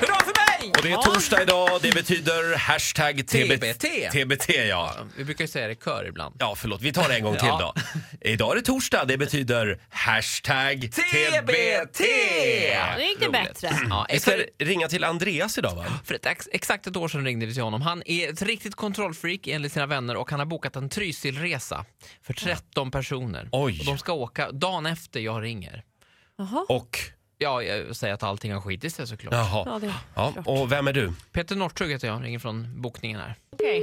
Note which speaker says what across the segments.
Speaker 1: Hurra för mig!
Speaker 2: Och det är torsdag idag, det betyder hashtag
Speaker 1: TBT.
Speaker 2: TBT. TBT ja.
Speaker 1: Vi brukar ju säga det i kör ibland.
Speaker 2: Ja, förlåt. Vi tar det en gång till
Speaker 1: Ja.
Speaker 2: då. Idag är det torsdag, det betyder hashtag TBT.
Speaker 3: Det gick det
Speaker 1: Roligt.
Speaker 3: bättre.
Speaker 1: Ja,
Speaker 2: Vi ska
Speaker 1: för,
Speaker 2: ringa till Andreas idag va?
Speaker 1: för ett, ex- exakt ett år sedan ringde vi till honom. Han är ett riktigt kontrollfreak enligt sina vänner och han har bokat en Trysilresa för 13 personer.
Speaker 2: Oj.
Speaker 1: Och de ska åka dagen efter jag ringer.
Speaker 2: Och,
Speaker 1: Ja, jag säger att allting har skitit sig såklart.
Speaker 3: Ja,
Speaker 2: jaha.
Speaker 3: det är
Speaker 2: Ja,
Speaker 3: klart.
Speaker 2: och vem är du?
Speaker 1: Peter Northug heter jag, ringer från bokningen här.
Speaker 3: Okej.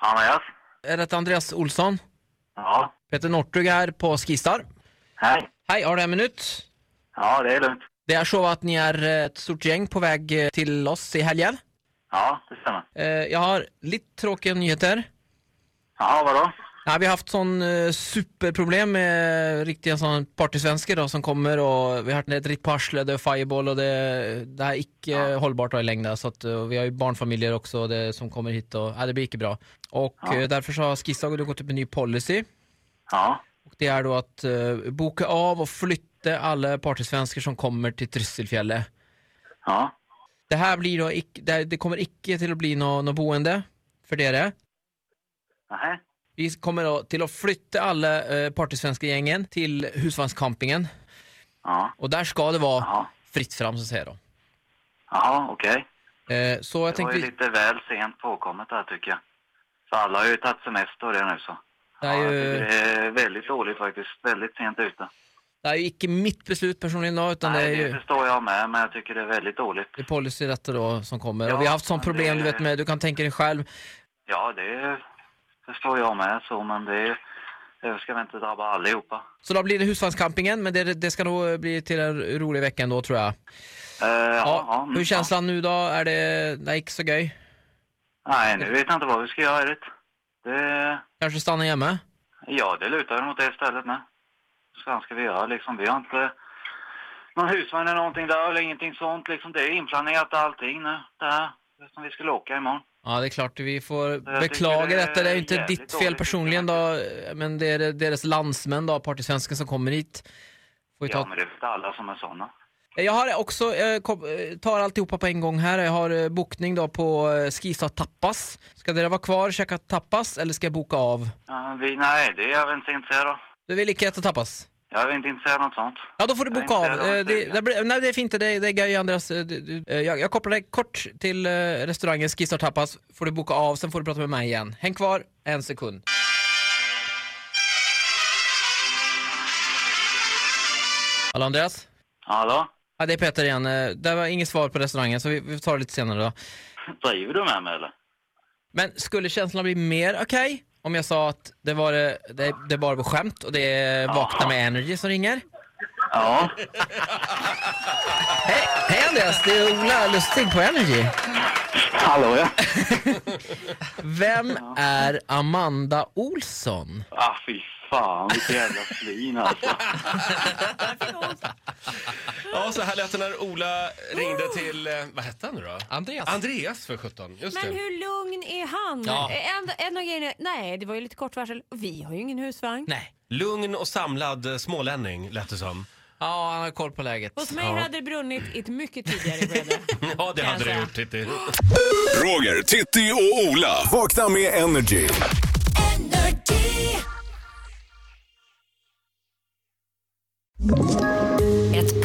Speaker 4: Andreas?
Speaker 1: Är det Andreas Olsson?
Speaker 4: Ja,
Speaker 1: Peter Northug här på Skistar.
Speaker 4: hej.
Speaker 1: Hej, har du en minut?
Speaker 4: Ja, det är lugnt.
Speaker 1: Det är så att ni är ett stort gäng på väg till oss i helgen. Eh,
Speaker 4: Ja, det stämmer.
Speaker 1: Jag har lite tråkiga nyheter.
Speaker 4: Ja, vadå?
Speaker 1: Ja, vi har haft sån eh, superproblem med riktiga sån partysvenskar då, som kommer och vi har hört ett ritt på arslet, det är fireball och det, det här är icke eh, hållbart då, i längden. Så att, eh, vi har ju barnfamiljer också och det, som kommer hit och ja, det blir icke bra. Och eh, därför så har Skisdag då gått upp en ny policy.
Speaker 4: Ja,
Speaker 1: Och det är då att eh, boka av och flytta alla partysvenskar som kommer till Trysselfjället.
Speaker 4: ja,
Speaker 1: Det här blir då icke, det, här- det kommer icke till att bli något nå boende för det är det.
Speaker 4: nej,
Speaker 1: Vi kommer då till att flytta alla eh, partysvenska gängen till husvagnscampingen.
Speaker 4: ja,
Speaker 1: Och där ska det vara
Speaker 4: Jaha.
Speaker 1: fritt fram så att säga då.
Speaker 4: ja, okej.
Speaker 1: Eh, så jag
Speaker 4: Det var
Speaker 1: tänkte,
Speaker 4: ju
Speaker 1: vi-
Speaker 4: lite väl sent påkommet där tycker jag. För alla har ju tagit semester och det nu så.
Speaker 1: det är
Speaker 4: Ja, jag
Speaker 1: ju,
Speaker 4: tycker det är väldigt dåligt faktiskt. Väldigt sent ute.
Speaker 1: det är ju icke mitt beslut personligen då, utan det är
Speaker 4: Nej, det
Speaker 1: ju
Speaker 4: förstår jag med, men jag tycker det är väldigt dåligt.
Speaker 1: det är policy detta då som kommer.
Speaker 4: Ja,
Speaker 1: och vi har haft sån
Speaker 4: men
Speaker 1: problem,
Speaker 4: det-
Speaker 1: du vet med, du kan tänka dig själv.
Speaker 4: Ja, det förstår jag med så, men det, det ska väl inte drabba allihopa.
Speaker 1: Så då blir det husvagnscampingen, men det, det ska nog bli till en rolig vecka ändå tror jag.
Speaker 4: Eh, ja,
Speaker 1: Ja,
Speaker 4: ja, mm,
Speaker 1: hur känslan nu då? Är det, det är inte så göj?
Speaker 4: Ja. Nej, nu vet jag inte vad vi ska göra. Erik. Det...
Speaker 1: Kanske stanna hemma?
Speaker 4: Ja, det lutar ju mot det stället nu. Så vad ska vi göra liksom? Vi har inte någon husvagn eller någonting där eller ingenting sånt liksom. Det är inplanerat allting nu. Det här som vi skulle åka imorgon.
Speaker 1: Ja, det är klart. Vi får
Speaker 4: tycker
Speaker 1: beklaga
Speaker 4: det är
Speaker 1: detta. Det är ju inte
Speaker 4: jävligt
Speaker 1: ditt fel
Speaker 4: dåligt
Speaker 1: personligen då, men det är deras landsmän då, partysvensken som kommer hit. Får vi
Speaker 4: Ja,
Speaker 1: ta...
Speaker 4: men det är inte alla som är sådana.
Speaker 1: Jag har också, jag kom, eh, tar alltihopa på en gång här. Jag har eh, bokning då på eh, Skistar Tapas. Ska det vara kvar och käka tapas eller ska jag boka av?
Speaker 4: Ja, vi, nej, det är jag väl inte intresserad av.
Speaker 1: Du vill lika äta tapas?
Speaker 4: Jag är väl inte intresserad av något sånt.
Speaker 1: Ja, då får du
Speaker 4: Jag är
Speaker 1: boka av.
Speaker 4: inte redo.
Speaker 1: Eh, Det, det, blir- nej, det är fint. Det, det är grej, Andreas. Eh, du- du- eh, Jag, jag kopplar dig kort till eh, restaurangen Skistar Tapas. Får du boka av, sen får du prata med mig igen. Häng kvar en sekund. Hallå, Andreas?
Speaker 4: Hallå?
Speaker 1: Ja, det är Peter igen. Eh, Det var inget svar på restaurangen, så vi, vi tar det lite senare då.
Speaker 4: Driver du med mig eller?
Speaker 1: Men skulle känslan bli mer okej om jag sa att det, var, eh, det, det bara var skämt och det är Vakna med Energy som ringer?
Speaker 4: Ja.
Speaker 1: Hej, hej Andreas, det är Ola Lustig på Energy.
Speaker 4: Hallå ja.
Speaker 1: Vem är Amanda Olsson?
Speaker 4: Ah fy fan, vilket jävla svin alltså.
Speaker 2: Ja, så här lät det när Ola ringde till, eh, vad hette han nu då?
Speaker 1: Andreas.
Speaker 2: Andreas för 17. just
Speaker 3: Men
Speaker 2: det.
Speaker 3: hur lugn är han?
Speaker 1: Ja.
Speaker 3: En, en av grejerna, nej, det var ju lite kort varsel. Och Vi har ju ingen husvagn.
Speaker 1: Nej.
Speaker 2: Lugn och samlad eh, smålänning lät det som.
Speaker 1: Ja, han har koll på läget.
Speaker 3: Hos mig hade det brunnit i ett mycket tidigare skede.
Speaker 2: Ja, det hade
Speaker 3: Kan jag
Speaker 2: det
Speaker 3: säga.
Speaker 2: gjort. Titti.
Speaker 5: Roger, Titti och Ola. Vakna med Energy.
Speaker 6: Ett